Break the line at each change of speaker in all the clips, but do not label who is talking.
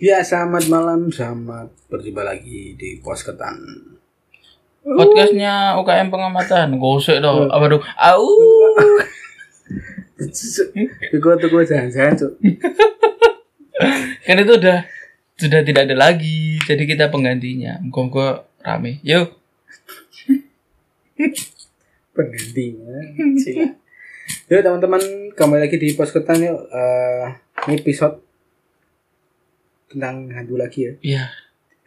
Ya, selamat malam, selamat berjumpa lagi di Posketan.
Podcastnya UKM pengamatan. Gosek
Iya.
dong. Apa dong? Au.
Gue tuh gue jalan-jalan tuh.
Kan itu udah sudah tidak ada lagi. Jadi kita penggantinya. Moga-moga rame. Yuk.
Penggantinya. Sila. Yuk teman-teman, kembali lagi di Posketan yuk. Eh, ini episode tentang hantu lagi ya.
Iya.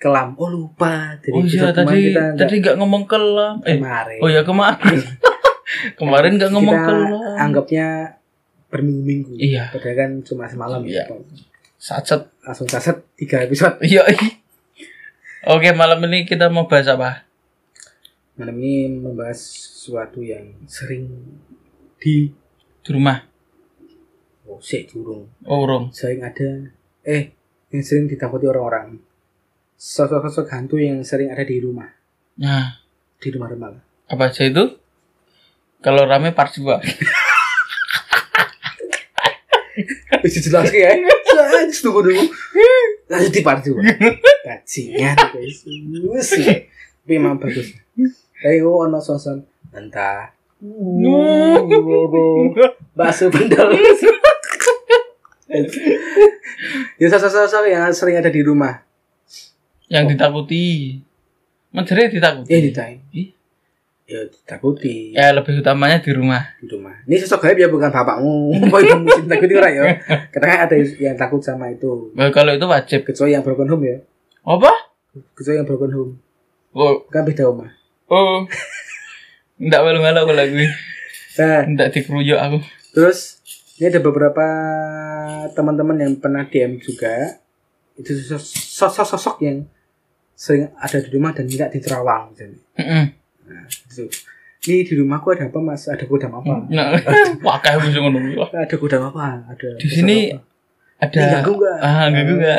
Kelam. Oh lupa. Jadi
Oh iya
episode kemarin
tadi
kita
tadi nggak ngomong kelam.
nggak-
Eh.
kemarin.
Oh ya kemarin. kemarin nggak ngomong
kita
kelam.
anggapnya berminggu-minggu.
Iya.
Padahal kan cuma semalam ya.
Sacet.
Langsung caset tiga episode.
Iya. Oke malam ini kita mau bahas apa?
Malam ini membahas sesuatu yang sering di
Di rumah.
Oh, sik durung.
Oh, urung.
Sering ada eh yang sering ditakuti orang-orang. Sosok-sosok hantu yang sering ada di rumah,
Nah,
di rumah-rumah. lah.
apa aja itu? Kalau rame part 2.
Wis jelas ya. Jelas tunggu dulu. Lanjut di part 2. Bajingan guys. Wis. ya. Tapi emang bagus. Tapi oh ono sosan entah. Bakso bandel. ya sosok-sosok yang sering ada di rumah. Oh.
yang ditakuti menjerit ditakuti
Eh, ditai.
Ih.
Ya ditakuti.
ya lebih utamanya di rumah
di rumah. Ini sosok gaib ya bukan bapakmu. Kok ibumu sih takut itu orang ya? Katanya ada yang takut sama itu.
Well, kalau itu wajib
Kecuali yang broken home ya.
apa
Kecuali yang broken home.
oh
Kan beda rumah.
oh ndak malu malu aku lagi
Nah,
ndak dikeruyuk aku
terus ini ada beberapa teman-teman yang pernah DM juga. Itu sosok-sosok yang sering ada di rumah dan tidak diterawang. Jadi,
Mm-mm.
Nah, itu. Ini di rumahku ada apa mas? Ada kodam apa?
nah wah kayak bisa ngono
Ada kodam apa? Ada
Di sini ada
Ganggu nggak?
ah enggak juga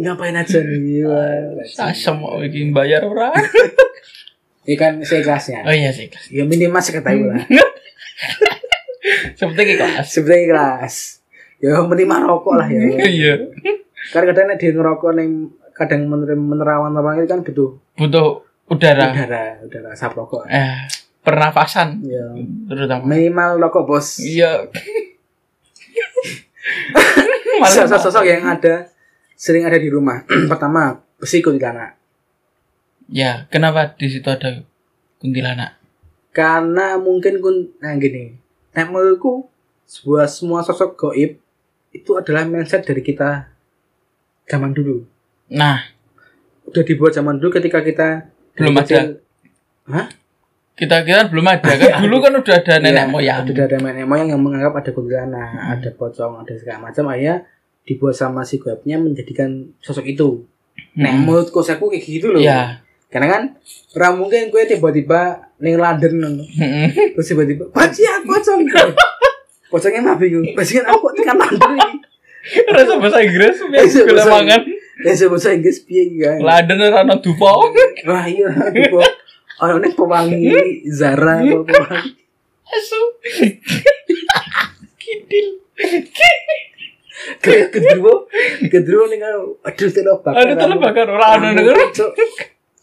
ngapain aja Iya, nih? Wah,
sasem mau bikin bayar orang
Ini kan seikhlasnya.
oh iya Hmm. sih kelas
Ya minimal seketahui lah.
seperti kelas
sebenarnya kelas ya menerima rokok lah ya
iya
karena kadang nek di ngerokok neng kadang mener- menerawan orang itu kan butuh
butuh udara
udara udara asap rokok
eh pernafasan
ya
terutama
minimal rokok bos
iya
sosok-sosok yang ada sering ada di rumah pertama besi kuntilanak
Ya, kenapa di situ ada kuntilanak?
karena mungkin kun nah gini nek menurutku sebuah semua sosok goib itu adalah mindset dari kita zaman dulu
Nah,
udah dibuat zaman dulu ketika kita
Belum ada.
kecil-
kita kira belum ada kan? Dulu kan udah ada nenek
Iya,
moyang. Hmm.
Ada ada nenek moyang yang menganggap ada kuntilanak, ada pocong, ada segala macam. Akhirnya dibuat sama si goibnya menjadikan sosok itu. Nah,
Hmm.
menurut kosaku kayak gitu loh.
Ya.
Karena kan ora mungkin gue tiba-tiba ning London ngono.
Mm-mm.
terus tiba-tiba bajingan pocong. Pocongnya mah bingung. Bajingan aku tekan London iki.
Rasa bahasa Inggris biar
Rasa
gula
bahasa
mangan.
Ya saya bahasa Inggris piye iki kan.
Laden rana dupo.
Wah, iya tiba Orang ini pewangi Zara apa pewangi.
Asu. Kidil.
Kayak kedua, kedua nih kan, aduh terlalu bakar.
Ada telur
aku.
bakar orang
Kamu,
denger.
Cuk.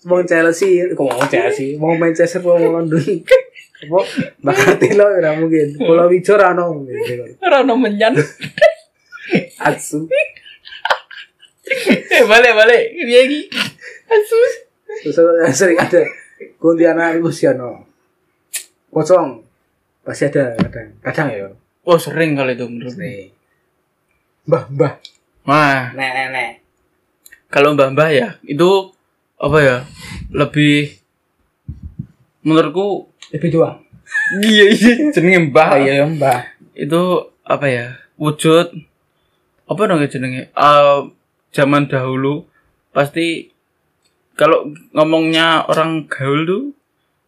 Wong Chelsea, kok mau Chelsea, mau Manchester, mau London. Apa bakal telo ora mungkin. Pulau Wijo ora ono.
Rana menyan.
Atsu.
Eh, balik balik. Iya iki. Asu.
Terus ada- sering ada Kuntilanak itu sih ono. Pocong pasti ada kadang. Kadang ya.
Oh, sering kali itu menurut gue.
Nih. Mbah, mbah,
Wah,
nek, nek, nek.
kalau mbah-mbah ya, itu apa ya? Lebih menurutku
Lebih doang.
iya iya jenenge mbah
iya, mbah.
itu apa ya wujud apa dong ya jenenge Eh, zaman dahulu pasti kalau ngomongnya orang gaul tuh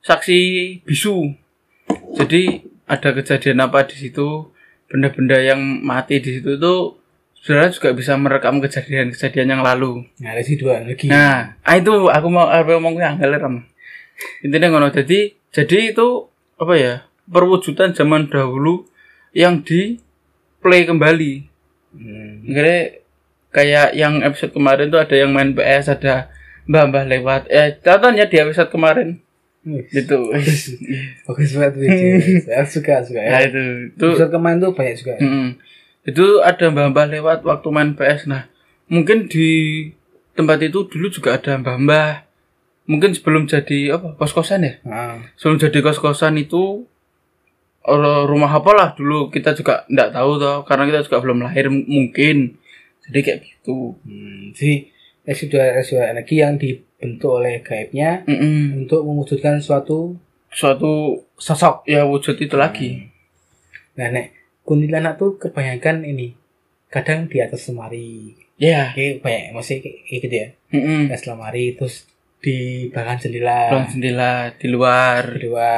saksi bisu jadi ada kejadian apa di situ benda-benda yang mati di situ tuh sebenarnya juga bisa merekam kejadian-kejadian yang lalu
Nah, ada sih dua lagi.
Nah, ah itu aku mau apa ngomongnya angel ram. Intinya ngono. Jadi jadi itu apa ya? Perwujudan zaman dahulu yang di play kembali.
Hmm.
Akhirnya kayak yang episode kemarin tuh ada yang main PS ada mbah-mbah lewat eh contohnya di episode kemarin gitu
Bagus banget Wiji. Saya suka suka ya.
nah itu itu
Episode kemarin tuh banyak juga.
Mm-mm. Itu ada mbah-mbah lewat waktu main PS. Nah, mungkin di tempat itu dulu juga ada mbah-mbah. Mungkin sebelum jadi apa kos-kosan ya?
Nah,
Sebelum jadi kos-kosan itu eh, rumah apa lah dulu kita juga nggak tahu toh karena kita juga belum lahir m- mungkin. Jadi kayak gitu.
hmm, jadi residu-residu energi yang dibentuk oleh gaibnya
Mm-mm.
untuk mewujudkan suatu
Suatu
sosok.
ya wujud itu lagi.
Nah, nek kuntilanak tuh kebanyakan ini kadang di atas lemari.
Ya.
Kayak banyak masih kayak kayak gitu ya. Di
Mm-mm.
atas lemari terus di belakang jendela.
Belum jendela di luar.
Kedua.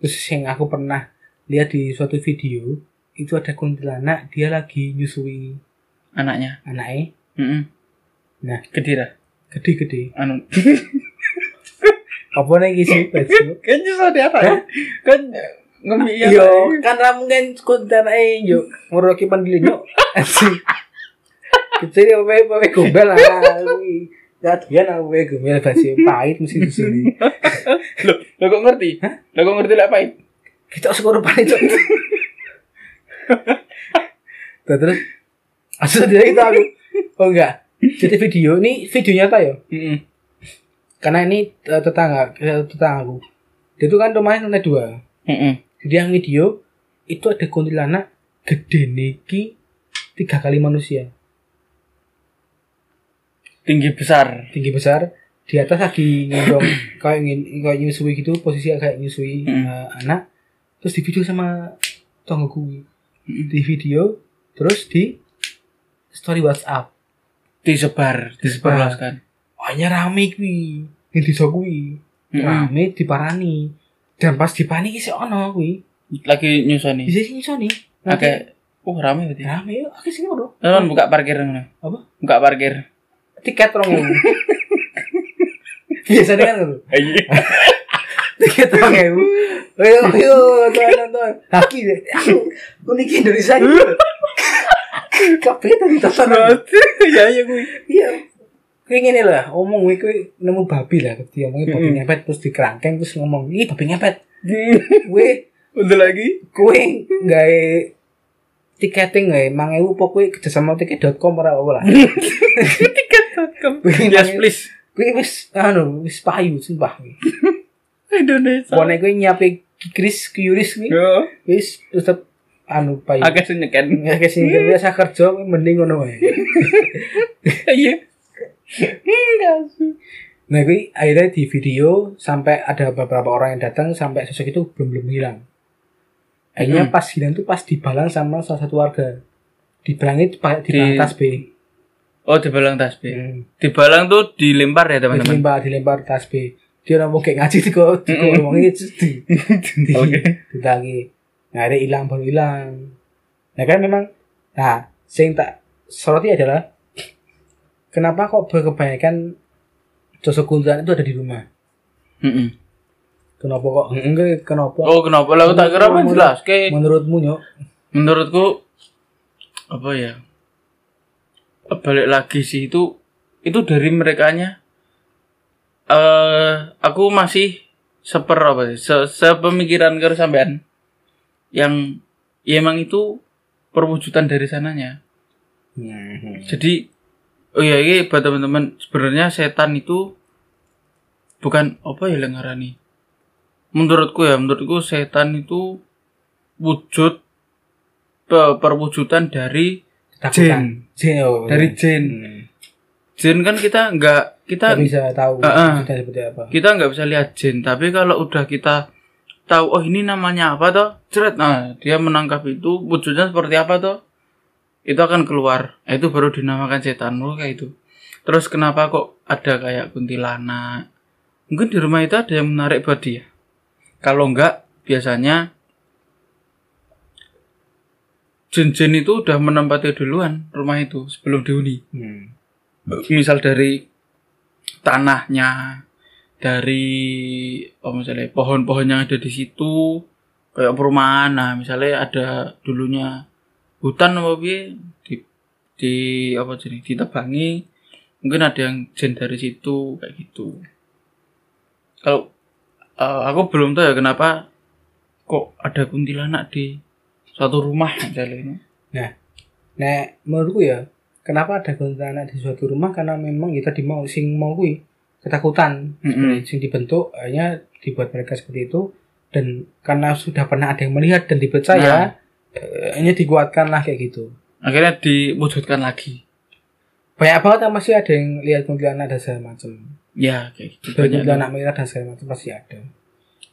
Terus yang aku pernah lihat di suatu video itu ada kuntilanak dia lagi nyusui
Anaknya.
anaknya
Mm-mm.
Nah.
Kedira.
gede-gede.
Anu
Apa nih sih baju?
kan justru di apa ya? kan ngemi ya
Yo, kan ramu kan kuntilanak yo nguruki pandilin yo. Asik. Kecil ya pakai pakai gombel lah. Gak doyan aku pakai gombel baju pahit mesti di sini.
lo lo kok ngerti lo kok ngerti lah pahit
Kita sekor pahit cok. Nah, Terus asal dia kita aku. Oh enggak. Jadi video ini video nyata ya.
Mm-mm.
karena ini eh, tetangga eh, tetanggaku dia itu kan rumahnya lantai dua
Mm-mm.
dia video itu ada kuntilanak gede niki tiga kali manusia
tinggi besar
tinggi besar di atas lagi ngendong kayak ingin kayak nyusui gitu posisi kayak nyusui
Mm.
eh, anak terus di video sama tonggoku di video terus di story WhatsApp
disebar disebar luaskan
hanya rame kui yang disokui
Mm-mm.
rame diparani dan pas diparani sih ono kui
lagi nyusoni
bisa sih iso nih
oke uh rame berarti
rame yuk oke sini bro
Teman buka parkir ngono.
Apa?
buka parkir
tiket rong ewu. biasanya kan gitu tiket rong ewu ayo ayo tuan nonton kaki deh aku niki Indonesia gitu kabeh tadi tonton
ya ya gue
iya Kayak gini lah, ngomong gue gue nemu babi lah, dia ngomongin babi
Mm-mm.
ngepet terus dikerangkeng terus ngomong, "Ih, babi ngepet." Gue
udah lagi
gue gawe tiketing gawe mangewu pokoknya kerjasama tiket.com ora apa lah.
tiket.com yes please
Gue wis anu wis payu sumpah.
Indonesia
Pone gue nyiapin kikris kiyuris gue
yo
wis tetep anu payu.
agak Hmm. senyeken
Ya kesini gue biasa kerja gue mending ngono wae.
iya
Nah gue akhirnya di video sampai ada beberapa orang yang datang sampai sosok itu belum belum hilang. Akhirnya
Hmm.
pas hilang tuh pas dibalang sama salah satu warga. Dibalang itu pakai
Di-
di tas B. Hmm.
oh dibalang tasbih dibalang tuh dilempar ya teman-teman
dilempar dilempar tas B dia orang mau kayak ngaji di
Hmm,
kok di kok ngomongnya itu di
Iya,
di
Oke.
ditagi nah ada hilang baru hilang nah kan memang nah sing tak soroti adalah kenapa kok berkebanyakan sosok kuntilanak itu ada di rumah
Mm-mm.
kenapa kok enggak kenapa
Oh kenapa lah aku tak kira apa jelas Kayak
menurutmu nyok
menurutku apa ya balik lagi sih itu itu dari merekanya eh aku masih seper apa sih se sepemikiran karo sampean yang ya emang itu perwujudan dari sananya jadi oh ya ini buat teman-teman sebenarnya setan itu bukan apa ya lengarani. Menurutku ya, menurutku setan itu wujud pe- perwujudan dari
ketakutan jin oh,
dari jin.
Hmm.
Jin kan kita
Nggak
nggak kita
bisa tahu
Ah, ah.
sudah seperti apa
kita nggak bisa lihat jin, tapi kalau udah kita tahu oh ini namanya apa toh, ceret nah dia menangkap itu wujudnya seperti apa toh, itu akan keluar. Nah, itu baru dinamakan setan Menurut kayak itu. Terus kenapa kok ada kayak kuntilanak? Mungkin di rumah itu ada yang menarik buat dia. Kalau enggak, biasanya jin-jin itu udah menempati duluan rumah itu sebelum dihuni
Hmm.
misal dari tanahnya dari oh misalnya pohon-pohon yang ada di situ kayak perumahan nah misalnya ada dulunya hutan apa piye di di apa jadi ditebangi mungkin ada yang jen dari situ kayak gitu kalau eh, aku belum tahu ya kenapa kok ada kuntilanak di suatu rumah misalnya
Nah, menurutku ya, kenapa ada kuntilanak di suatu rumah karena memang kita di mau sing mau kui ketakutan
Mm-mm.
sing dibentuk akhirnya dibuat mereka seperti itu dan karena sudah pernah ada yang melihat dan dipercaya eh, akhirnya dikuatkanlah kayak gitu.
akhirnya diwujudkan lagi
Banyak banget yang masih ada yang lihat kuntilanak dan segala macam.
ya kayak gitu
Dari
banyak
kuntilanak merah dan segala macam pasti ada.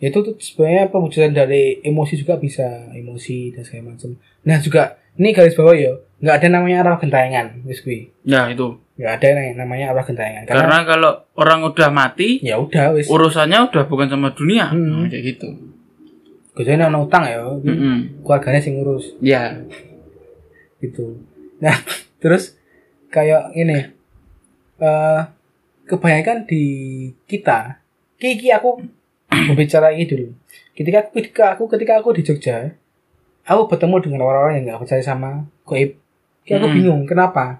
Ya, Itu tuh sebenarnya perwujudan dari emosi juga bisa emosi dan segala macam. Nah juga ini garis bawah ya, nggak ada namanya arah gentayangan, wis kui.
ya itu
nggak ada yang namanya arwah gentayangan karena,
karena kalau orang udah mati
ya udah wis
urusannya udah bukan sama dunia
Hmm.
Nah, kayak gitu
kerjanya ana utang ya
Mm-mm.
keluarganya sing ngurus
ya
gitu nah terus kayak ini eh kebanyakan di kita kiki aku berbicara ini dulu ketika aku ketika aku ketika aku di Jogja aku bertemu dengan orang-orang yang nggak percaya sama goib kayak aku
Hmm.
bingung kenapa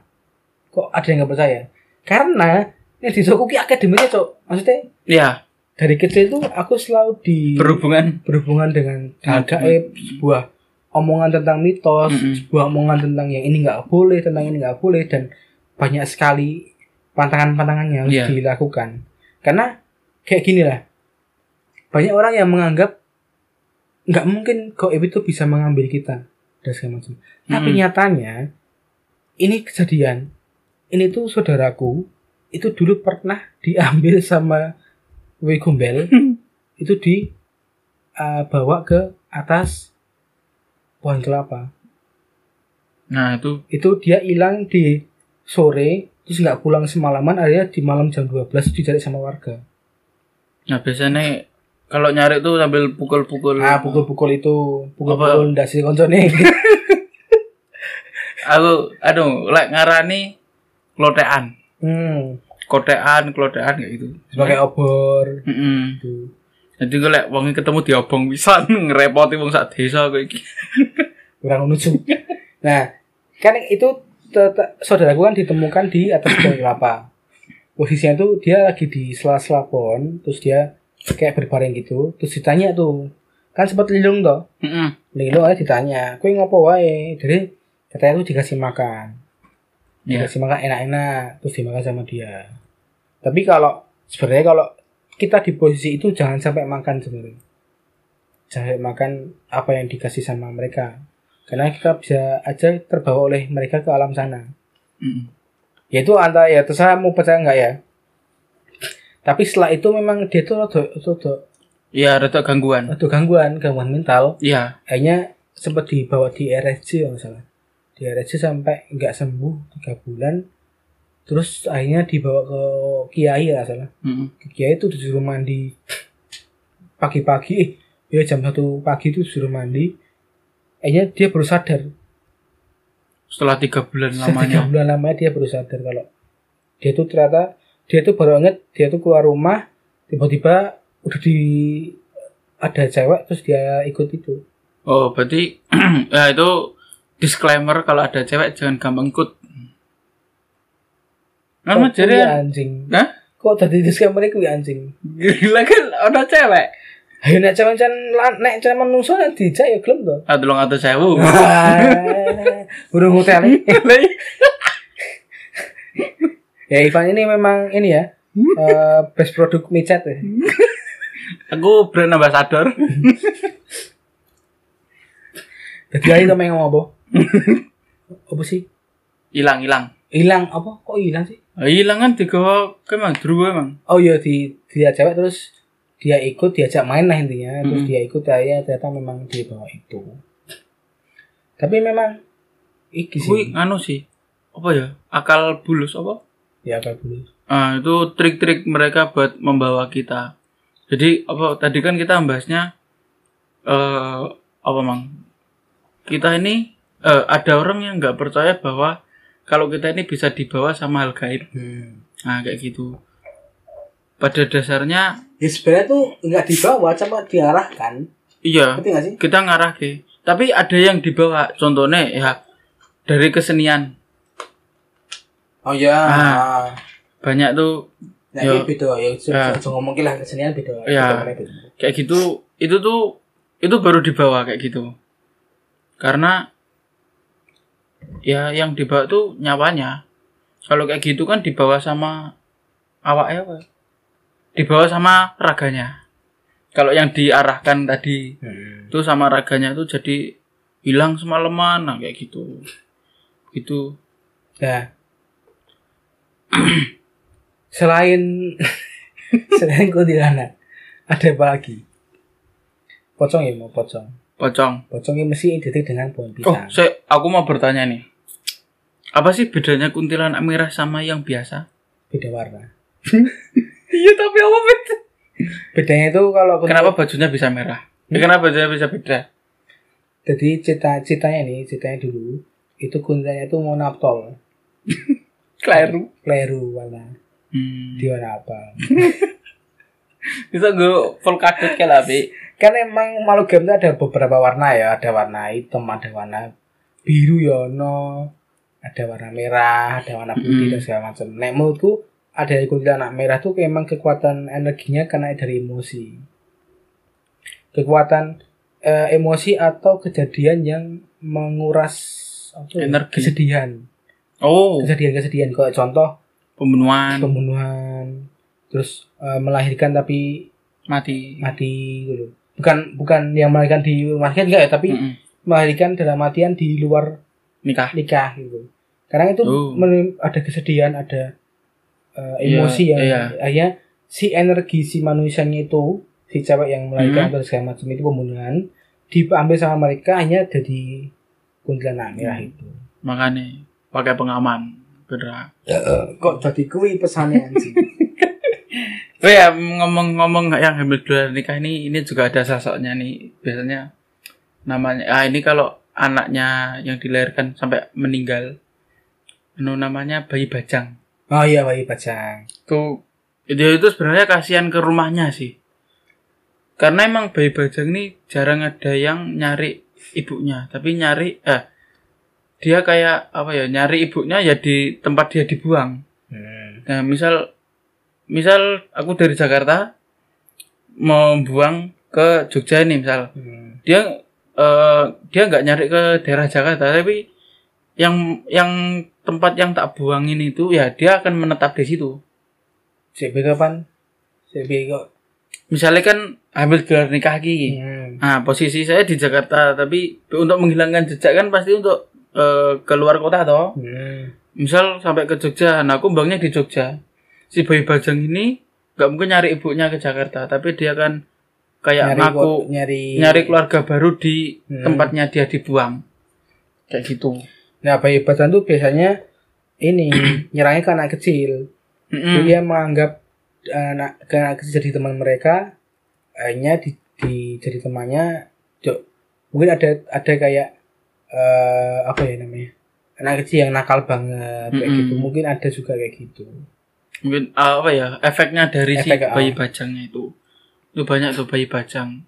kok ada yang nggak percaya karena ini di Jogja ki akademisnya cok maksudnya
ya
dari kecil tuh aku selalu di
berhubungan
berhubungan dengan hal
Hal
gaib, sebuah omongan tentang mitos,
Mm-mm.
sebuah omongan tentang yang ini nggak boleh, tentang ini nggak boleh, dan banyak sekali pantangan-pantangan yang harus
Iya.
dilakukan. Karena kayak gini lah, banyak orang yang menganggap nggak mungkin gaib itu bisa mengambil kita dan segala macam. Tapi
Mm-mm.
nyatanya ini kejadian, ini tuh saudaraku itu dulu pernah diambil sama Wei Gombel itu di eh, bawa ke atas pohon kelapa.
nah itu
Itu dia hilang di sore terus nggak pulang semalaman akhirnya di malam jam 12 dicari sama warga.
nah biasanya kalau nyari tuh sambil pukul-pukul
Ah pukul-pukul itu
Apa?
pukul-pukul ndasi koncone.
aku aduh lek ngarani klotean
hmm,
kotean klotean kayak gitu
sebagai obor
Mm-mm.
gitu.
jadi gue lek wongi ketemu diobong pisan ngerepoti wong sak desa kayak gitu
Kurang menuju. nah, kan itu tete- saudaraku kan ditemukan di atas pohon kelapa. Posisinya tuh dia lagi di sela-sela pohon, terus dia kayak berbaring gitu, terus ditanya tuh, kan sempat lindung toh.
Mm-mm.
Lilo aja ditanya, kue ngopo wae? Jadi katanya tuh dikasih makan,
ya
dikasih makan enak-enak, terus dimakan sama dia. Tapi kalau sebenarnya kalau kita di posisi itu jangan sampai makan sebenarnya, jangan sampai makan apa yang dikasih sama mereka, karena kita bisa aja terbawa oleh mereka ke alam sana
Mm-mm.
yaitu antara ya terserah mau percaya nggak ya tapi setelah itu memang dia tuh rada- rada-
ya rada gangguan
rada gangguan gangguan mental
ya
akhirnya sempat dibawa di RSC kalau nggak salah di RSC sampai nggak sembuh tiga bulan terus akhirnya dibawa ke kiai ya salah
Mm-mm.
ke kiai itu disuruh mandi pagi-pagi eh ya jam satu pagi itu disuruh mandi akhirnya dia baru sadar
setelah tiga bulan
setelah tiga
lamanya
bulan lamanya dia baru sadar kalau dia tuh ternyata dia tuh baru inget dia tuh keluar rumah tiba-tiba udah di ada cewek terus dia ikut itu
oh berarti ya itu disclaimer kalau ada cewek jangan gampang ikut
Kok
kan
kuwi
jadi
anjing
Hah?
kok tadi disclaimer itu ya anjing
gila kan ada cewek
ayo nek cuman cuman nek cuman menungso nek dijak ya gelem to
atau lo atau Ah, sewu
burung hotel
Lah,
ya Ivan ini memang ini ya eh, best produk micet ya
aku brand ambassador
jadi ayo kamu yang ngomong apa apa sih
hilang hilang
hilang apa kok hilang sih
Ah, hilang kan tiga emang dulu emang
oh iya di dia cewek terus dia ikut diajak main lah intinya terus
Mm-mm.
dia ikut akhirnya ternyata memang dia bawa itu tapi memang iki
Kui
sih
anu sih apa ya akal bulus apa
ya apa dulu
Ah, itu trik-trik mereka buat membawa kita jadi apa tadi kan kita bahasnya eh apa mang kita ini eh, ada orang yang nggak percaya bahwa kalau kita ini bisa dibawa sama hal gaib nah kayak gitu pada dasarnya
ya sebenarnya tuh nggak dibawa cuma diarahkan
iya
ngerti nggak sih
kita ngarah ke tapi ada yang dibawa contohnya ya dari kesenian
Oh iya.
Ah.
Ah.
Banyak tuh
Nah,
Yo.
iya beda ya.
Ah.
Jangan ngomong ki lah kesenian beda.
Iya.
Beda mana beda.
kayak gitu itu tuh itu baru dibawa kayak gitu karena ya yang dibawa tuh nyawanya kalau kayak gitu kan dibawa sama awaknya apa? dibawa sama raganya kalau yang diarahkan tadi itu sama raganya tuh jadi hilang semalaman nah kayak gitu gitu
Nah. selain selain kuntilanak, ada apa lagi? Pocong ya mau pocong.
pocong
Pocong ini mesti identik dengan pohon
oh
pisang.
saya aku mau bertanya nih apa sih bedanya kuntilanak merah sama yang biasa
Beda warna.
Iya tapi apa beda?
Bedanya itu kalau kuntil-
Kenapa bajunya bisa merah? Ya, kenapa bajunya bisa beda?
Jadi cita-citanya nih, ceritanya dulu itu kuntilanaknya itu mau naptol,
Kleru.
kleru warna,
Hmm.
di warna apa?
Bisa gue full kaget kayak lapi.
kan emang makhluk game itu ada beberapa warna ya ada warna hitam ada warna biru ya ono ada warna merah ada warna putih
Mm.
dan segala macam nek menurutku ada kuntilanak merah tuh emang kekuatan energinya karena dari emosi kekuatan eh, emosi atau kejadian yang menguras apa ya,
Energi.
kesedihan
Oh, Kan.
kesedihan kesedihan kayak contoh
pembunuhan,
pembunuhan terus eh, melahirkan tapi
mati.
mati gitu loh. bukan bukan yang melahirkan di rumah sakit enggak ya tapi
Mm-mm.
melahirkan dalam artian di luar
Hmm, Nikah.
nikah gitu karena itu
Oh.
menim- ada kesedihan ada eh,
Iya,
emosi yang
iya.
akhirnya si energi si manusianya itu si cewek yang melahirkan
Hmm.
atau segala macam itu pembunuhan diambil sama mereka hanya jadi kuntilanak merah
Hmm.
itu
Makanya pakai pengaman. Beda.
Ya, eh, kok jadi kui pesannya anjing
Oh ya ngomong-ngomong yang hamil di luar nikah ini ini juga ada sosoknya nih biasanya namanya ah ini kalau anaknya yang dilahirkan sampai meninggal anu namanya bayi bajang
oh iya bayi bajang
tuh dia itu sebenarnya kasihan ke rumahnya sih karena emang bayi bajang ini jarang ada yang nyari ibunya tapi nyari eh dia kayak apa ya nyari ibunya ya di tempat dia dibuang
hmm.
nah misal misal aku dari Jakarta mau buang ke Jogja nih misal
Hmm.
dia eh, dia nggak nyari ke daerah Jakarta tapi yang yang tempat yang tak buangin itu ya dia akan menetap di situ
CB kapan CB kok
misalnya kan ambil gelar nikah ki
hmm.
nah posisi saya di Jakarta tapi untuk menghilangkan jejak kan pasti untuk eh, keluar kota toh
Hmm.
misal sampai ke Jogja nah aku bangnya di Jogja si bayi bajang ini nggak mungkin nyari ibunya ke Jakarta tapi dia kan kayak
nyari
ngaku
kok- nyari
nyari keluarga baru di
Hmm.
tempatnya dia dibuang kayak gitu
Nah, bayi batan tuh biasanya ini nyerangnya ke anak kecil. Jadi
Mm-mm.
dia menganggap eh, anak ke anak kecil jadi teman mereka, hanya di, di- jadi temannya. Jo- Mungkin ada ada kayak eh apa ya namanya? Anak kecil yang nakal banget kayak
Mm-mm.
gitu. Mungkin ada juga kayak gitu.
mungkin ah, apa ya efeknya dari
Efek,
si
ah.
bayi bajangnya itu itu banyak tuh bayi bajang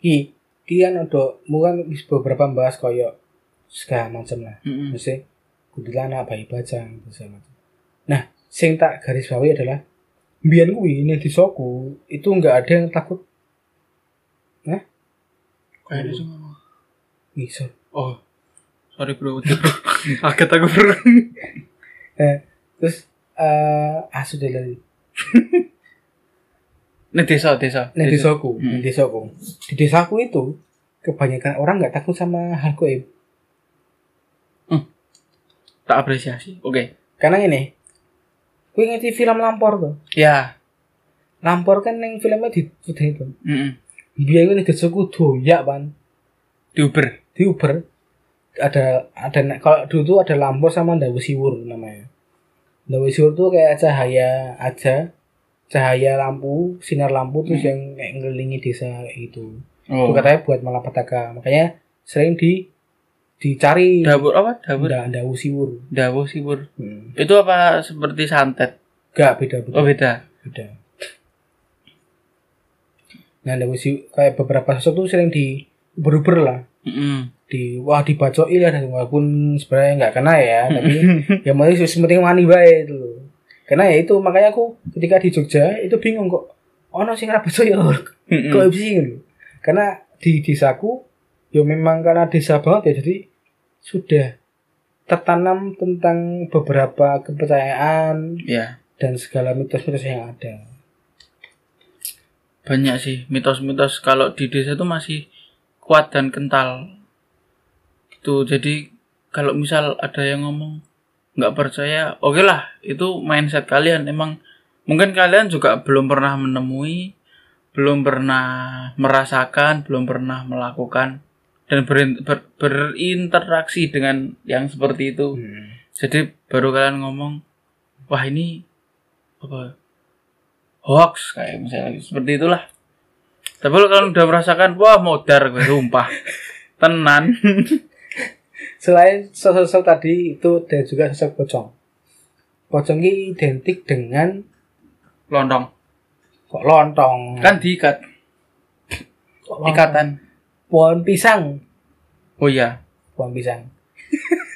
Ki, kian ada mungkin wis beberapa bahas koyo segala macam lah.
Mm-mm.
mesti kuntilanak bayi bajang itu segala macam. Nah, sing tak garis bawahi adalah mbiyen kuwi ini di soku itu nggak ada yang takut
Kayak gitu. ada semua.
ngisor.
oh sorry bro kaget aku bro
Terus eh asu deh lali.
ini desa desa
Nah, di soku,
Hmm.
di soku. Di desaku itu kebanyakan orang nggak takut sama hal gaib.
tak apresiasi oke
Karena ini kuwi ngerti film Lampor tuh.
ya
Lampor kan yang filmnya di udah itu.
mm-mm.
Biar ini di soku doyak pan
di Uber
di Uber ada ada kalau dulu tuh ada lampu sama ndawu siwur namanya. Ndawu siwur tuh kayak cahaya aja cahaya lampu, sinar lampu
Hmm.
terus yang kayak ngelilingi desa kayak gitu. Itu
oh
katanya buat malapetaka. Makanya sering di dicari
dawur apa dawur
nda ndawu siwur.
dawur sibur
Hmm.
itu apa seperti santet
Gak beda beda.
oh beda
beda. Nah, ndawu siwur kayak beberapa sosok tuh sering di beruber lah.
Mm-mm.
di wah dibacoi lah dan walaupun sebenarnya nggak kena ya tapi yang penting yang penting wani bae itu loh. karena ya itu makanya aku ketika di Jogja itu bingung kok ono sing ra bacoi ya
Mm. Mm-mm.
korupsi gitu. Karena di desaku ya memang karena desa banget ya jadi sudah tertanam tentang beberapa kepercayaan
ya
dan segala mitos-mitos yang ada.
banyak sih mitos-mitos kalau di desa itu masih kuat dan kental gitu jadi kalau misal ada yang ngomong nggak percaya oke lah itu mindset kalian emang mungkin kalian juga belum pernah menemui belum pernah merasakan belum pernah melakukan dan berin- ber- berinteraksi dengan yang seperti itu jadi baru kalian ngomong wah ini apa hoax kayak misalnya gitu. seperti itulah tapi kalau kalian udah merasakan wah modar gue sumpah tenan
Selain sosok-sosok tadi itu dan juga sosok pocong. Pocong ini identik dengan
lontong
kok lontong.
kan diikat
Kok lontong?
ikatan
Pohon pisang,
oh iya
pohon pisang.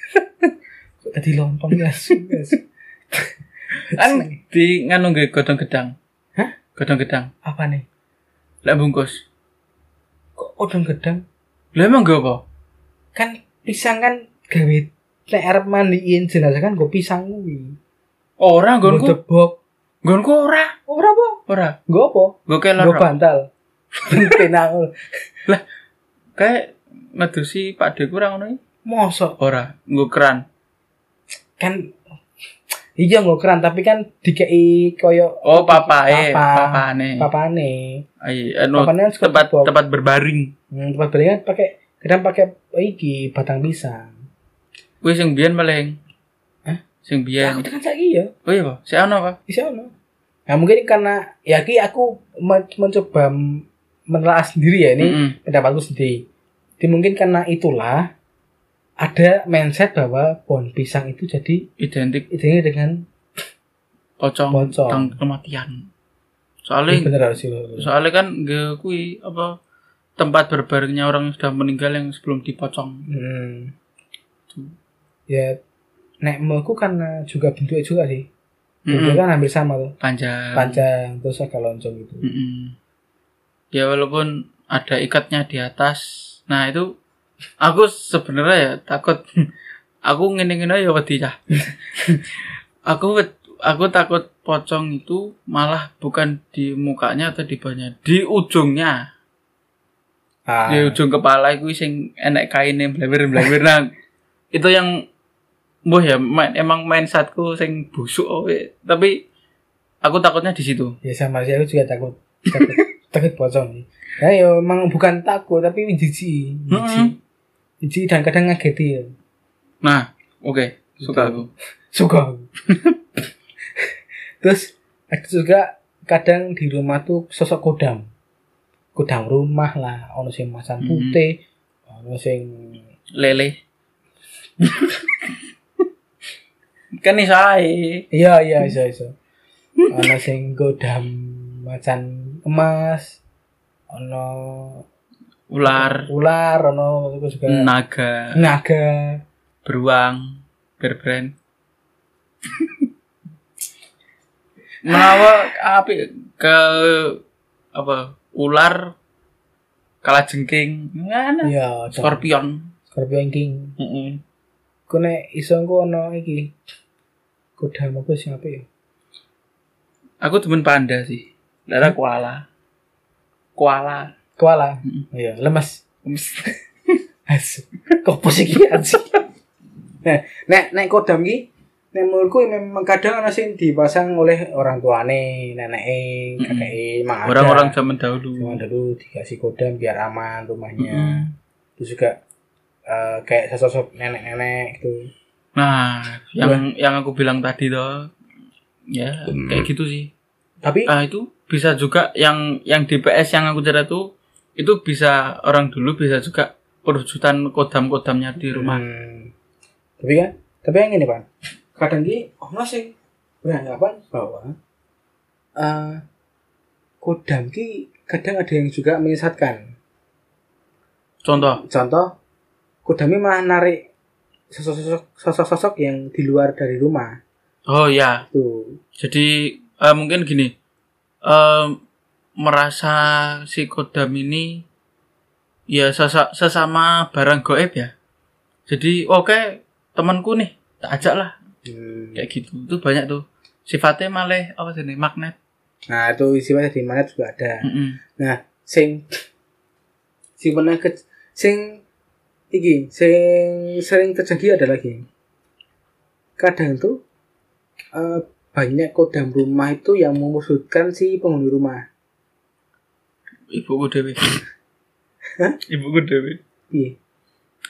Kok Tadi lontong ya. Sus?
kan di nganu nggih godong gedang
Hah?
godong gedang
Apa nih?
lek bungkus
Kok odong gedang?
lah emang gak apa
kan pisang kan gawe nek arep mandiin jenazah kan go pisang kuwi.
ora gonku
Ngedebok.
gonku ora
Ora apa?
ora
Go Oh, apa?
gue kelor
Go
Rok.
bantal. Penang.
kayak ngedusi pak de kurang ngono iki.
Mosok
ora gue keran
kan iya nggo keran tapi kan dikei koyo
oh papa eh
Papa.
papa
Hmm.
nih
papane.
Ay, anu,
Papane kan suka
tempat
debok.
tempat berbaring.
Hmm, tempat beli kan pakai kadang pakai oh, iki batang pisang.
Wis sing biyen meleng.
Hah?
Sing
Ya, aku
biyen.
tekan saiki ya.
Oh iya, Pak. Sik ana, Pak.
Bisa ono. Nah, mungkin karena ya ki aku men- mencoba m- menelaah sendiri ya ini.
Mm-mm.
pendapatku sendiri. Jadi mungkin karena itulah ada mindset bahwa pohon pisang itu jadi
identik
idenya dengan
pocong
pocong.
tentang kematian.
Ini
Soalnya
bener harus sih loh.
soalnya kan nggak kui apa tempat berbaringnya orang yang sudah meninggal yang sebelum dipocong.
Hmm. Ya, nek menurutku karena juga bentuknya juga sih. Bentuknya
Mm-mm. Nah.
kan hampir sama tuh.
Panjang.
Panjang terus agak lonjong gitu.
Mm. Mm-mm. Ya walaupun ada ikatnya di atas. Nah, itu aku sebenarnya ya takut aku ngene-ngene ya wedi cah. aku wed- aku takut pocong itu malah bukan di mukanya atau di badannya, di ujungnya.
Ah,
Di ujung kepala iku sing enek kaine blawer-blawer nah. Itu yang Mbah ya, main, emang mindsetku sing busuk owe. tapi aku takutnya di situ.
ya sama sih aku juga takut. Takut, takut pocong sih. Ya, ya emang bukan takut tapi jijik. Jijik.
Mm-mm.
Jijik dan kadang ngageti ya.
Nah, oke, suka aku.
suka terus ada juga kadang di rumah tuh sosok kodam kodam rumah lah ono sing masang
Mhm.
putih ono sing
lele kan nih saya
iya iya iso iso ono sing godam macan emas ono
ular
ular ono terus juga
Nah. naga
naga
beruang berbrand menawa api ke apa ular kalajengking mana
iya Scorp
scorpion
Scorpion King
Mm-mm.
ku nek iso engko ono iki kodam apa sing apa ya
aku temen panda sih Lara koala koala
koala
Mhm.
iya lemes Asu. Kopos iki kan anjing. Nah, nek nek kodam iki nek menurutku ya memang kadang ana sing dipasang oleh orang tuane, neneke,
Mm-mm.
kakeke, mak ada.
orang-orang zaman
zaman
dahulu
dulu dikasih kodam biar aman rumahnya.
Mm-mm.
Terus juga eh, kayak sosok nenek-nenek gitu.
Nah, yang yang aku bilang tadi toh, ya kayak gitu sih.
Tapi
Ah itu bisa juga yang yang DPS yang aku cerita tuh itu bisa orang dulu bisa juga perwujudan kodam-kodamnya di rumah.
Hmm. Tapi kan, tapi yang ini, Pak. Kadang ki ono sing beranggapan bahwa eh kodam ki kadang ada yang juga menyesatkan.
Contoh,
Contoh Kodamnya malah narik sosok-sosok sosok-sosok yang di luar dari rumah
Oh ya,
tuh
jadi eh, mungkin gini, eh, merasa si kodam ini ya sesa- sesama barang goib ya. Jadi oke temanku nih, tak ajak lah
Hmm.
kayak gitu. Itu banyak tuh sifatnya malah apa sih nih magnet.
nah itu isinya di mana juga ada
Mm-mm.
Nah, sing si mana ke sing iki sing sering terjadi ada lagi kadang tuh eh, banyak kodam rumah itu yang memusutkan si penghuni rumah
Ibuku dewi. Ibuku dewi.
iya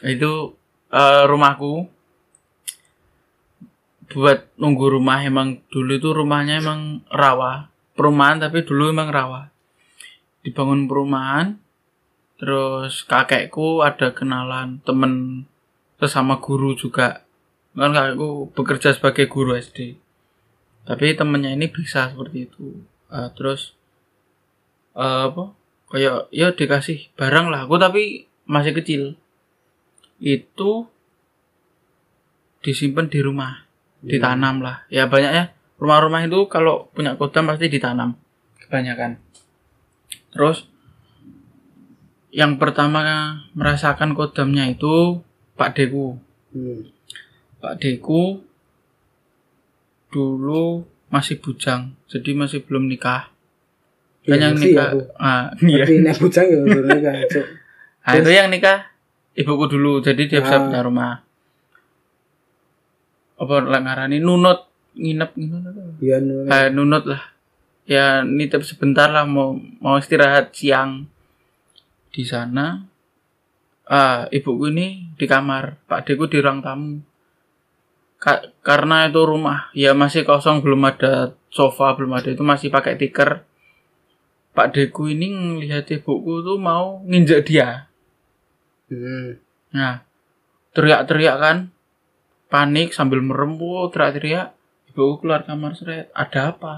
itu eh, rumahku buat nunggu rumah emang dulu itu rumahnya emang rawa perumahan tapi dulu emang rawa dibangun perumahan terus kakekku ada kenalan temen sesama guru juga kan kakekku bekerja sebagai guru SD tapi temennya ini bisa seperti itu Eh, terus eh, apa kayak ya dikasih barang lah aku tapi masih kecil itu disimpan di rumah, ditanam lah. Ya banyak ya. Rumah-rumah itu kalau punya kodam pasti ditanam kebanyakan. Terus yang pertama merasakan kodamnya itu Pak Deku.
hmm.
Pak Deku dulu masih bujang, jadi masih belum nikah. Kan yang
Iya, ngerti
nikah,
aku.
ah, iya.
Ngerti nek bujang ya udah nikah Cuk.
Nah, itu yang nikah ibuku dulu, jadi dia
Ah.
bisa punya rumah. Apa lah ngarani nunut nginep nginep apa?
iya nu-
Eh, nunut lah. Ya nitip sebentar lah mau mau istirahat siang di sana. Ah, ibuku ini di kamar, Pak Deku di ruang tamu. Ka- karena itu rumah ya masih kosong belum ada sofa belum ada itu masih pakai tikar Pak Deku ini ngelihat ibuku tuh mau nginjek dia
hmm.
Nah, teriak-teriak kan, panik sambil merempuh, teriak-teriak. Ibuku keluar kamar seret, ada apa?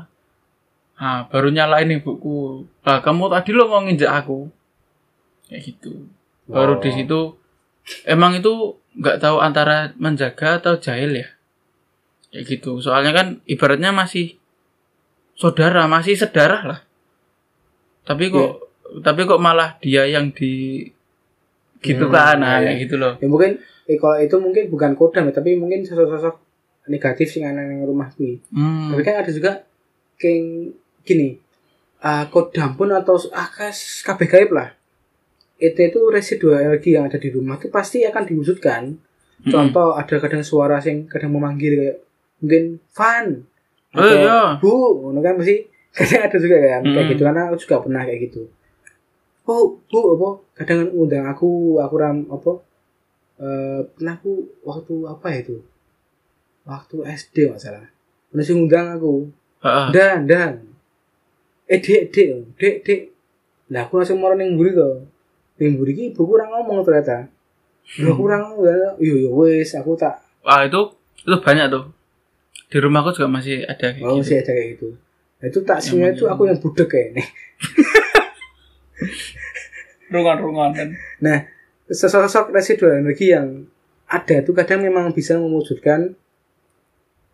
Nah, baru nyalain ibuku. Lah, kamu tadi lo mau nginjek aku. Kayak gitu.
Wow.
Baru di situ, emang itu nggak tahu antara menjaga atau jahil ya. Kayak gitu. Soalnya kan ibaratnya masih saudara, masih sedarah lah. Tapi
Iya.
kok, tapi kok malah dia yang di gitu
Hmm,
kan, nah,
iya.
kayak gitu loh.
ya mungkin eh, kalau itu mungkin bukan kodam ya, tapi mungkin sosok-sosok negatif sing ana ning rumah kuwi
Hmm.
tapi kan ada juga king gini ah, kodam pun atau akas kabeh gaib lah itu itu residu energi yang ada di rumah itu pasti akan diwujudkan
Mm-mm.
contoh ada kadang suara sing kadang memanggil kayak mungkin fun
Eh, iya.
bu ngono kan mesti kadang ada juga kan kayak
Mm.
gitu karena aku juga pernah kayak gitu oh bu apa kadang ngundang aku aku ram apa eh pernah aku waktu apa ya itu waktu SD masalah masih ngundang aku
Heeh.
dan dan eh dek dek dek dek lah aku langsung marah ning mburi to ning mburi iki ibuku ora ngomong ternyata Lho aku ora ngomong ya yo yo wis aku tak
Wah, itu itu banyak tuh. Di rumahku juga masih ada kayak
mau
gitu.
sih ada kayak gitu Nah, itu tak
Yang
sih itu
mana?
aku yang budek kayaknya
Rungan-rungan kan.
nah sosok-sosok residual energi yang ada itu kadang memang bisa mewujudkan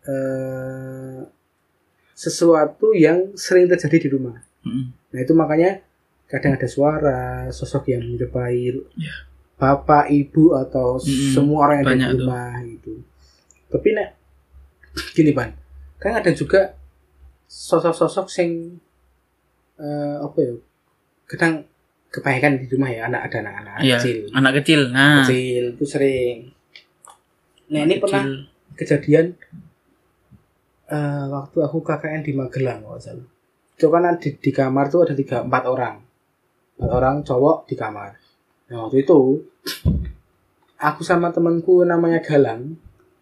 eh, sesuatu yang sering terjadi di rumah
Heeh.
Nah itu makanya kadang ada suara sosok yang menyerupai
Iya.
bapak, ibu atau
Mm-mm,
semua orang yang ada
banyak
di
tuh.
rumah gitu. Tapi nek gini ban, kan ada juga sosok-sosok sing eh, apa ya? Kadang kebanyakan di rumah ya anak ada anak-anak
Iya,
kecil,
anak kecil. Nah,
kecil itu sering. Nah ini
kecil.
pernah kejadian eh, waktu aku KKN di Magelang kalau nggak salah. Itu kan di, di kamar tuh ada tiga empat orang, empat orang cowok di kamar. Nah waktu itu aku sama temanku namanya Galang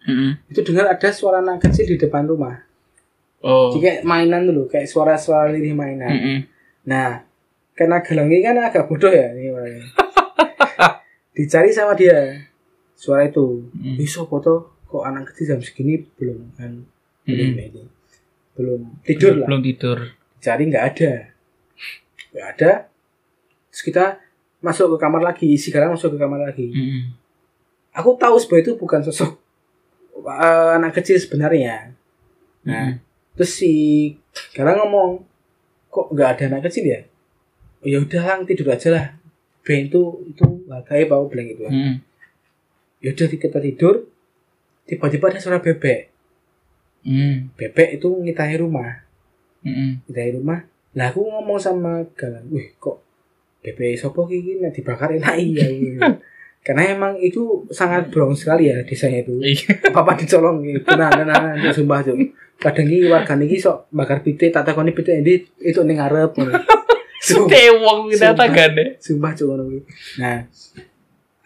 Heeh.
itu dengar ada suara anak kecil di depan rumah.
Oh. Hmm,
Jadi kayak mainan dulu, kayak suara-suara lirih mainan.
Heeh.
Nah, karena Galang ini kan agak bodoh ya ini orangnya. Dicari sama dia suara itu.
Mm.
Ih, sopo toh? kok anak kecil jam segini belum kan belum
Mm.
ini. Belum tidur lah.
Belum tidur.
Cari nggak ada. Nggak
Mm.
ada. Terus kita masuk ke kamar lagi, si Galang masuk ke kamar lagi.
Heeh.
aku tahu sebuah itu bukan sosok eh, anak kecil sebenarnya nah terus si Galang ngomong kok nggak ada anak kecil ya oh, ya udah lang tidur aja lah Ben itu itu harganya bawa bilang gitu kan.
Hmm.
ya udah kita tidur tiba-tiba ada suara bebek
Hmm.
bebek itu ngitangi rumah
Hmm.
dari rumah lah aku ngomong sama Galang wih kok bebek sopo ki nek dibakar enak iya karena emang itu sangat brong sekali ya desanya itu
Iya.
papa dicolong gitu nah nah nah nah, sumpah tuh kadang ini warga ini sok bakar pitik tak takoni pitik ini itu ning ngarep ngono. Sumpah.
Tewong kita
Sumpah.
tagane.
sumpah cuy ngono kuwi. nah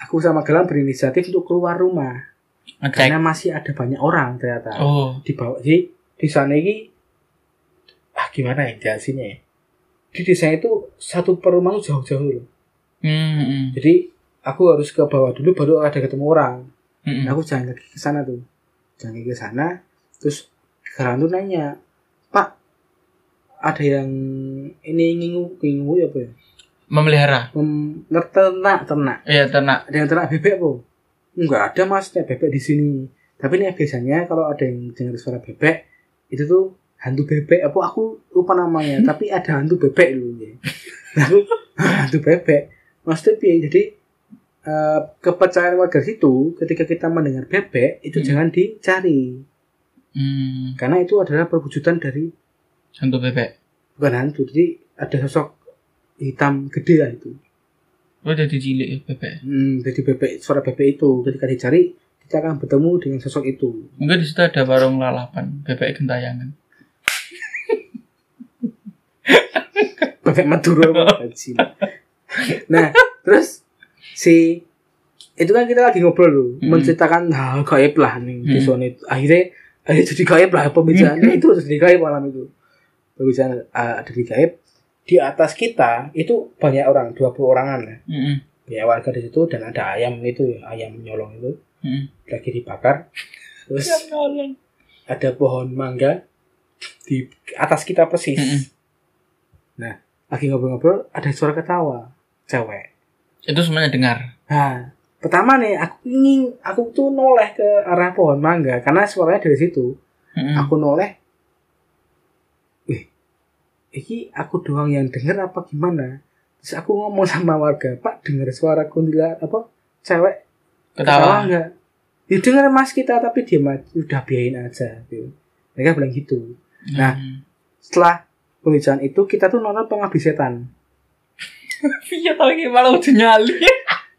aku sama Galang berinisiatif untuk keluar rumah
Ngecek.
karena masih ada banyak orang ternyata
Oh.
di bawah di di sana ini ah gimana ya jelasinnya ya di desa itu satu perumahan jauh-jauh loh
Hmm.
jadi aku harus ke bawah dulu baru ada ketemu orang
Hmm.
Nah, aku jalan kaki ke sana tuh jalan kaki ke sana terus Galang tuh nanya pak ada yang ini ngingu ngingu ya apa ya
Memelihara.
Mem- ner- ternak ternak
Iya, ternak.
ada yang ternak bebek bu nggak ada mas nek bebek di sini tapi nih biasanya kalau ada yang dengar suara bebek itu tuh hantu bebek apa aku lupa namanya tapi ada hantu bebek dulu ya Nah, aku "Hah, hantu bebek maksudnya piye? jadi eh, kepercayaan warga situ ketika kita mendengar bebek itu
Hmm.
jangan dicari
Hmm.
karena itu adalah perwujudan dari
Hantu bebek.
bukan hantu jadi ada sosok hitam gede lah itu
Oh, jadi cilik ya, bebek.
Hmm, jadi bebek suara bebek itu ketika dicari kita akan bertemu dengan sosok itu.
Mungkin di situ ada warung lalapan, bebek gentayangan.
Bebek Madura apa? Bajil. Nah, terus si itu kan kita lagi ngobrol loh,
Hmm.
menceritakan hal gaib lah nih
Hmm.
di zona itu. Akhirnya akhirnya jadi gaib lah pembicaraan itu jadi gaib malam itu. Pembicaraan eh, jadi gaib di atas kita itu banyak orang, 20 orangan lah.
Heeh.
Banyak warga di situ dan ada ayam itu, ayam nyolong itu
Heeh.
lagi dibakar. Terus ada pohon mangga di atas kita persis.
Mm-mm.
Nah, lagi ngobrol-ngobrol ada suara ketawa cewek.
Itu semuanya dengar.
Nah, pertama nih aku ingin aku tuh noleh ke arah pohon mangga karena suaranya dari situ.
Heeh.
Aku noleh. Eh, ini aku doang yang denger apa gimana? Terus aku ngomong sama warga, Pak denger suara kuntilanak apa cewek
Ketawa.
enggak? Ya denger mas kita tapi dia udah biarin aja gitu. Mereka bilang gitu. Nah. setelah pembicaraan itu kita tuh nonton pengabdi setan.
Iya, tapi kayak malah udah nyali.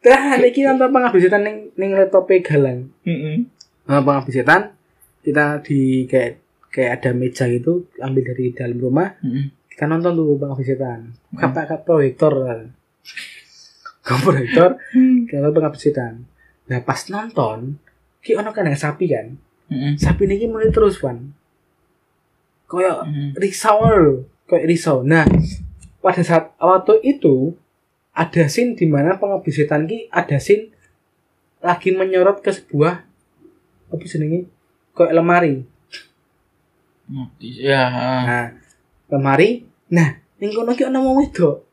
Nah, ini kita nonton pengabdi setan ning ning laptop galang.
Heeh.
Nonton pengabdi setan kita di kayak kayak ada meja gitu ambil dari dalam rumah
Heeh.
kita nonton tuh pengabdi setan. Kata kata proyektor. Ke proyektor kita nonton pengabdi setan. Nah pas nonton ki ono kandang sapi kan.
Heeh.
Sapi ini mulai terus wan. Koyok
Heeh.
risau loh kayak risau nah pada saat waktu itu ada scene di mana pengabdi setan ki ada scene lagi menyorot ke sebuah apa jenenge kayak lemari
Ya, ah.
nah lemari nah ning kono ki ana wong wedok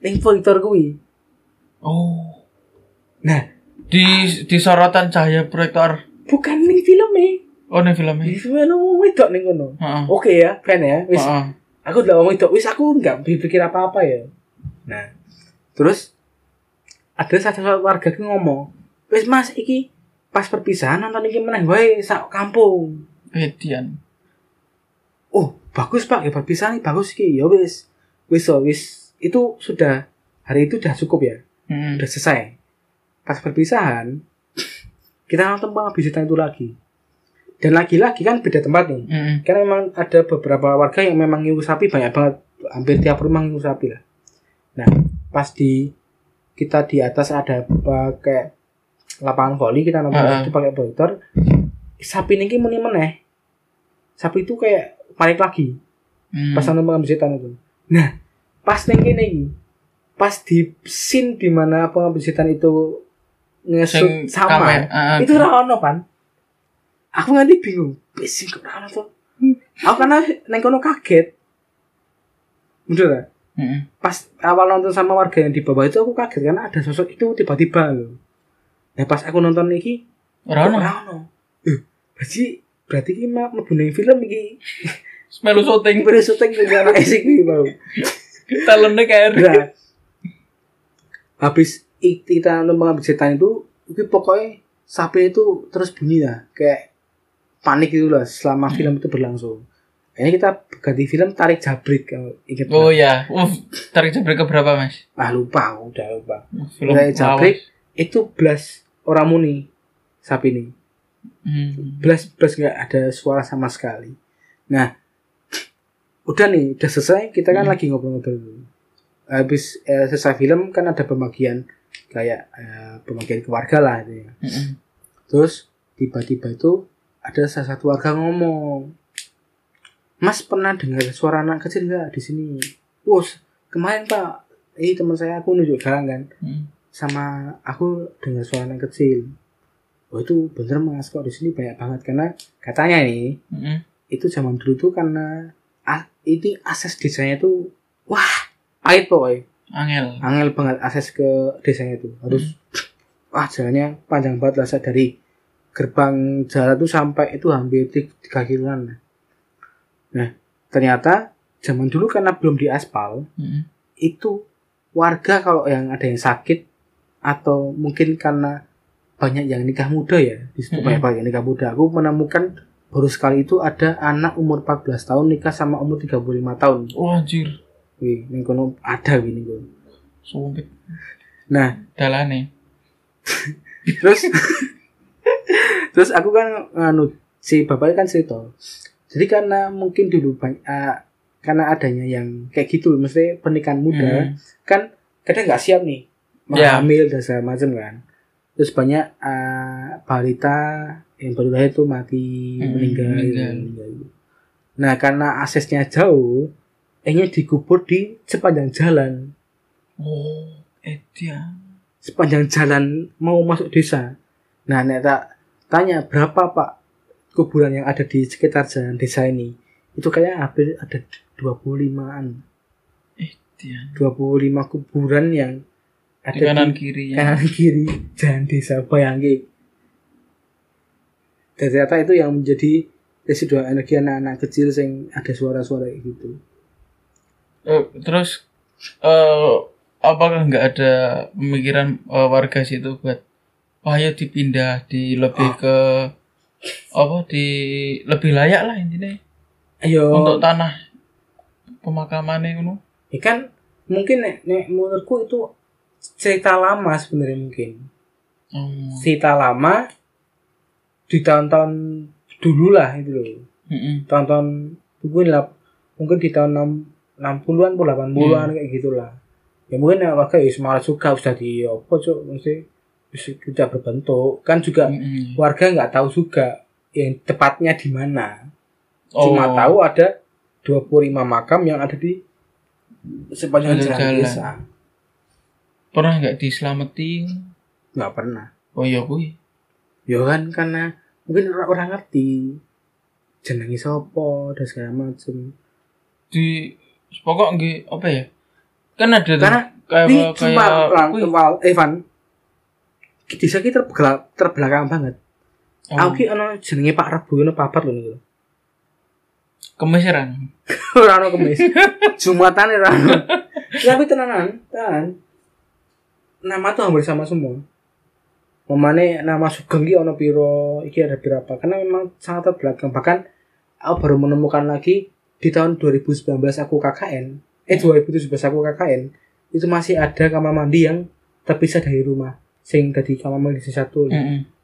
ning proyektor kuwi
Oh,
nah
di di sorotan cahaya proyektor.
bukan ning filme
Oh, ini filmnya.
ning filme ana wong wedok ning kono
Heeh.
oke ya fan ya Iya. wis
Heeh.
aku udah ngomong itu wis aku nggak berpikir apa apa ya nah terus ada satu warga ki ngomong wis mas iki pas perpisahan nonton iki meneh wae sak kampung
Edian.
oh bagus pak ya perpisahan ini bagus iki ya wis wis so, wis itu sudah hari itu sudah cukup ya
Heeh.
udah selesai pas perpisahan kita nonton pengabdi setan itu lagi dan lagi-lagi kan beda tempat nih
Heeh.
karena memang ada beberapa warga yang memang ngiu sapi banyak banget hampir tiap rumah ngiu sapi lah nah pas di kita di atas ada pakai lapangan voli kita nonton
Ah.
itu pakai proyektor sapi ini muni meneh sapi itu kayak panik lagi
Hmm.
pas nonton pengabdi setan itu nah pas neng kene iki, pas di scene di mana pengabdi setan itu
Sing
ngesut sama
kamer- ah,
itu ora ono kan aku nganti bingung bising kok ora ono to aku karena neng kono kaget bener lah.
Heeh.
pas awal nonton sama warga yang di bawah itu aku kaget karena ada sosok itu tiba-tiba loh Nah pas aku nonton iki,
Ora ono.
ora ono. Eh, berarti berarti iki mah mlebu ning film iki.
Melu
Ing
syuting
syuting ning ana esik iki mau.
talentnya kayak
Nah, habis i- kita mengambil setan itu, itu pokoknya sapi itu terus bunyi lah, kayak panik gitu lah
Hmm.
selama film itu berlangsung. Akhirnya kita ganti film tarik jabrik kalau ingat.
Oh ya, uh, tarik jabrik ke berapa mas?
Ah lupa, aku udah lupa.
Uh,
Tarik
lawas.
jabrik itu belas orang muni sapi ini.
Hmm.
Belas belas nggak ada suara sama sekali. Nah, udah nih, udah selesai. Kita kan
Hmm.
lagi ngobrol-ngobrol. dulu. Habis eh, selesai film kan ada pembagian kayak eh, pembagian keluarga lah itu ya.
Mm-mm.
Terus tiba-tiba itu ada salah satu warga ngomong, Mas pernah dengar suara anak kecil nggak di sini? Wos kemarin pak, eh teman saya aku nunjuk jalan kan,
Hmm.
sama aku dengar suara anak kecil. Oh itu bener mas kok di sini banyak banget karena katanya nih
Mm-mm.
itu zaman dulu tuh karena a- ini akses desanya tuh wah pahit pokoknya
Angel.
angel banget akses ke desanya itu harus wah jalannya panjang banget lah Sa. dari gerbang jalan tuh sampai itu hampir ti- tiga kiloan nah ternyata zaman dulu karena belum diaspal
Mm-mm.
itu warga kalau yang ada yang sakit atau mungkin karena banyak yang nikah muda ya di situ
Mm-mm.
banyak banget yang nikah muda aku menemukan baru sekali itu ada anak umur 14 tahun nikah sama umur 35 tahun
Oh anjir,
wih ini kono ada wih ini kono.
sumpit.
nah
Dalane.
terus terus aku kan anu si bapaknya kan cerita jadi karena mungkin dulu banyak eh, karena adanya yang kayak gitu mesti pernikahan muda
Hmm.
kan kadang nggak siap nih
Ya.
hamil dan segala macam kan terus banyak eh, balita yang baru lahir tuh mati
Hmm,
meninggal, gitu,
meninggal.
meninggal. nah karena aksesnya jauh akhirnya dikubur di sepanjang jalan
Oh, eh dia.
sepanjang jalan mau masuk desa. Nah, nek tak tanya berapa Pak kuburan yang ada di sekitar jalan desa ini? Itu kayak hampir ada 25-an.
Eh dia.
25 kuburan yang ada
Di kanan kiri ya.
kanan kiri jalan desa bayangin. Dan ternyata itu yang menjadi residu energi anak-anak kecil yang ada suara-suara kayak gitu.
Eh, terus eh apakah nggak ada pemikiran eh, warga situ buat "Wah, ayo dipindah di lebih ke apa di lebih layak lah intinya
Ayo.
untuk tanah pemakamannya ngono.
ya kan mungkin nek, nek menurutku itu cerita lama sebenarnya mungkin
Oh.
cerita lama di tahun-tahun dulu lah itu loh
Mm-mm.
tahun-tahun mungkin lap- mungkin di tahun 60-an atau 80-an kayak gitulah ya mungkin ya, warga ya semangat suka sudah di apa cok mesti sudah berbentuk kan juga
Mm-mm.
warga nggak tahu juga yang tepatnya di mana
Oh.
cuma tahu ada 25 makam yang ada di sepanjang
Sepanjang
jalan,
jalan.
desa
pernah nggak diselamati
nggak pernah
oh iya kui
ya kan karena mungkin orang orang ngerti jenengi sopo dan segala macem
di pokok nggih apa ya kan ada tuh,
Karena
kayak
ini cuma
kayak
lang
kui.
wal Evan desa kita terbelakang, terbelakang banget
Oh,
aku ki ono jenenge Pak Rebu ono papat lho niku
kemesiran
ora ono kemis jumatan ya, ora ono tapi tenanan tenan nama tuh hampir sama semua Memane nama Sugeng ki ono piro iki ada berapa karena memang sangat terbelakang bahkan aku baru menemukan lagi di tahun 2019 aku KKN eh 2017 aku KKN itu masih ada kamar mandi yang terpisah dari rumah sing tadi kamar mandi sing satu
Mm-mm.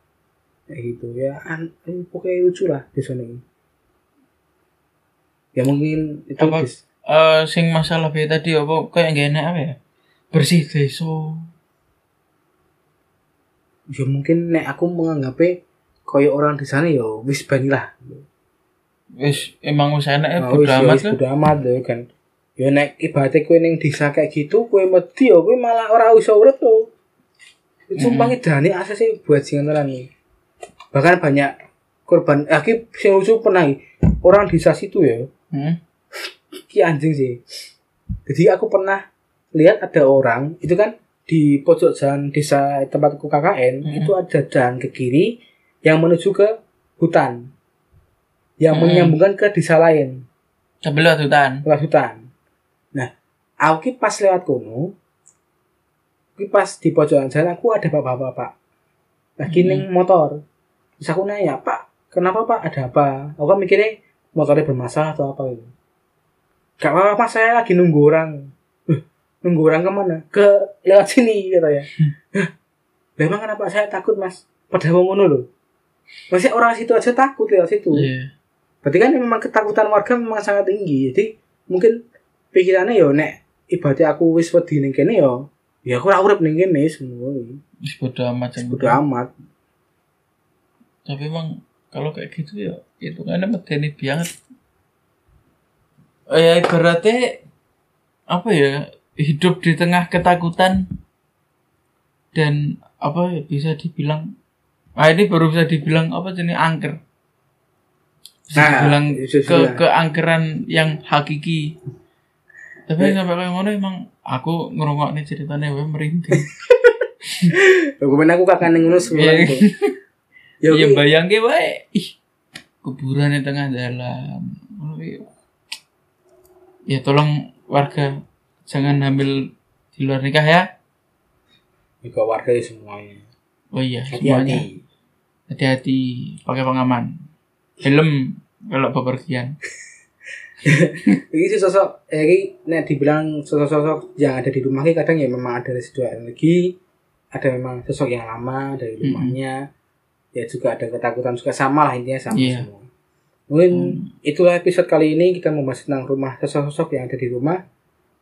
kayak gitu ya an eh, pokoknya lucu lah di sana ini. ya mungkin itu
Apa-
dis-
Eh, sing masalah B tadi apa kayak gak enak apa ya bersih deso
ya mungkin nek aku menganggapnya koyo orang di sana ya wis bani lah
wis emang wis enak ya
Nah,
bodo
Ah, wis-
amat
wis
kan
bodo amat lho kan ya nek ibaratnya kue neng desa kayak gitu kue mati ya kue malah orang usah urut tuh itu
Mm-mm.
mm dani asa sih buat singan tenan nih bahkan banyak korban akhir sing lucu pernah orang desa situ ya
Hmm.
Iya, ki anjing sih. Jadi aku pernah lihat ada orang itu kan di pojok jalan desa tempatku KKN
Hmm.
itu ada jalan ke kiri yang menuju ke hutan yang
Hmm.
menyambungkan ke desa lain
Sebelah hutan.
lewat hutan nah aku ki pas lewat kono ki pas di pojokan jalan aku ada bapak-bapak lagi
Hmm.
neng motor terus aku nanya pak kenapa pak ada apa aku kan mikirnya motornya bermasalah atau apa gitu gak apa-apa Pak, saya lagi nunggu orang "Huh, nunggu orang kemana ke lewat sini katanya "Hah, lah emang kenapa saya takut mas padahal wong ngono loh Maksudnya orang situ aja takut lewat situ
Iya.
Berarti kan memang ketakutan warga memang sangat tinggi. Jadi mungkin pikirannya ya nek ibaratnya aku wis wedi ning kene ya ya aku ora urip ning kene semua.
Wis bodo amat jam.
Bodo amat.
Tapi emang kalau kayak gitu ya hitungannya medeni banget. Ya ibaratnya apa ya hidup di tengah ketakutan dan apa ya bisa dibilang ah ini baru bisa dibilang apa jenis angker bisa
Nah,
dibilang
itu
ke
sudah.
keangkeran yang hakiki tapi
Ya.
sampai kayak mana emang aku ngerungok nih ceritanya gue merinding
Ya kemarin aku kakak ning ngono sebulan
Iya.
kok. Ya
ya
oke.
bayangke wae ih kuburan di tengah dalam Ngono kuwi. ya tolong warga jangan hamil di luar nikah ya
Juga warga ya semuanya.
oh iya semuanya
Hati-hati.
hati-hati pakai pengaman helm kalau bepergian
Ini sih sosok eh, ini nek dibilang sosok-sosok yang ada di rumah ini kadang ya memang ada residu energi, ada memang sosok yang lama dari
Mm-mm.
rumahnya. Ya juga ada ketakutan juga sama lah intinya sama
Iya.
semua. Mungkin
Hmm.
itulah episode kali ini kita membahas tentang rumah sosok-sosok yang ada di rumah.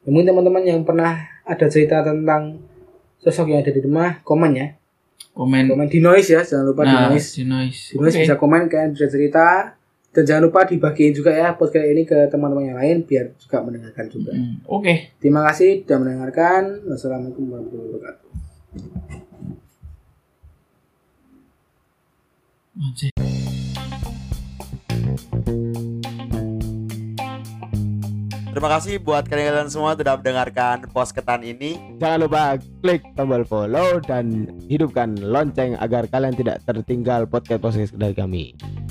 Ya, Mungkin teman-teman yang pernah ada cerita tentang sosok yang ada di rumah, komen ya.
komen
Komen di noise ya, jangan lupa di
nah
noise.
di noise
Di noise
Oke.
bisa komen, kalian bisa cerita. Dan jangan lupa dibagiin juga ya podcast ini ke teman-teman yang lain biar juga mendengarkan juga.
Mm, oke
Terima kasih sudah mendengarkan. Wassalamualaikum warahmatullahi wabarakatuh.
Anjir.
Terima kasih buat kalian semua sudah mendengarkan posketan ini.
Jangan lupa klik tombol follow dan hidupkan lonceng agar kalian tidak tertinggal podcast-podcast dari kami.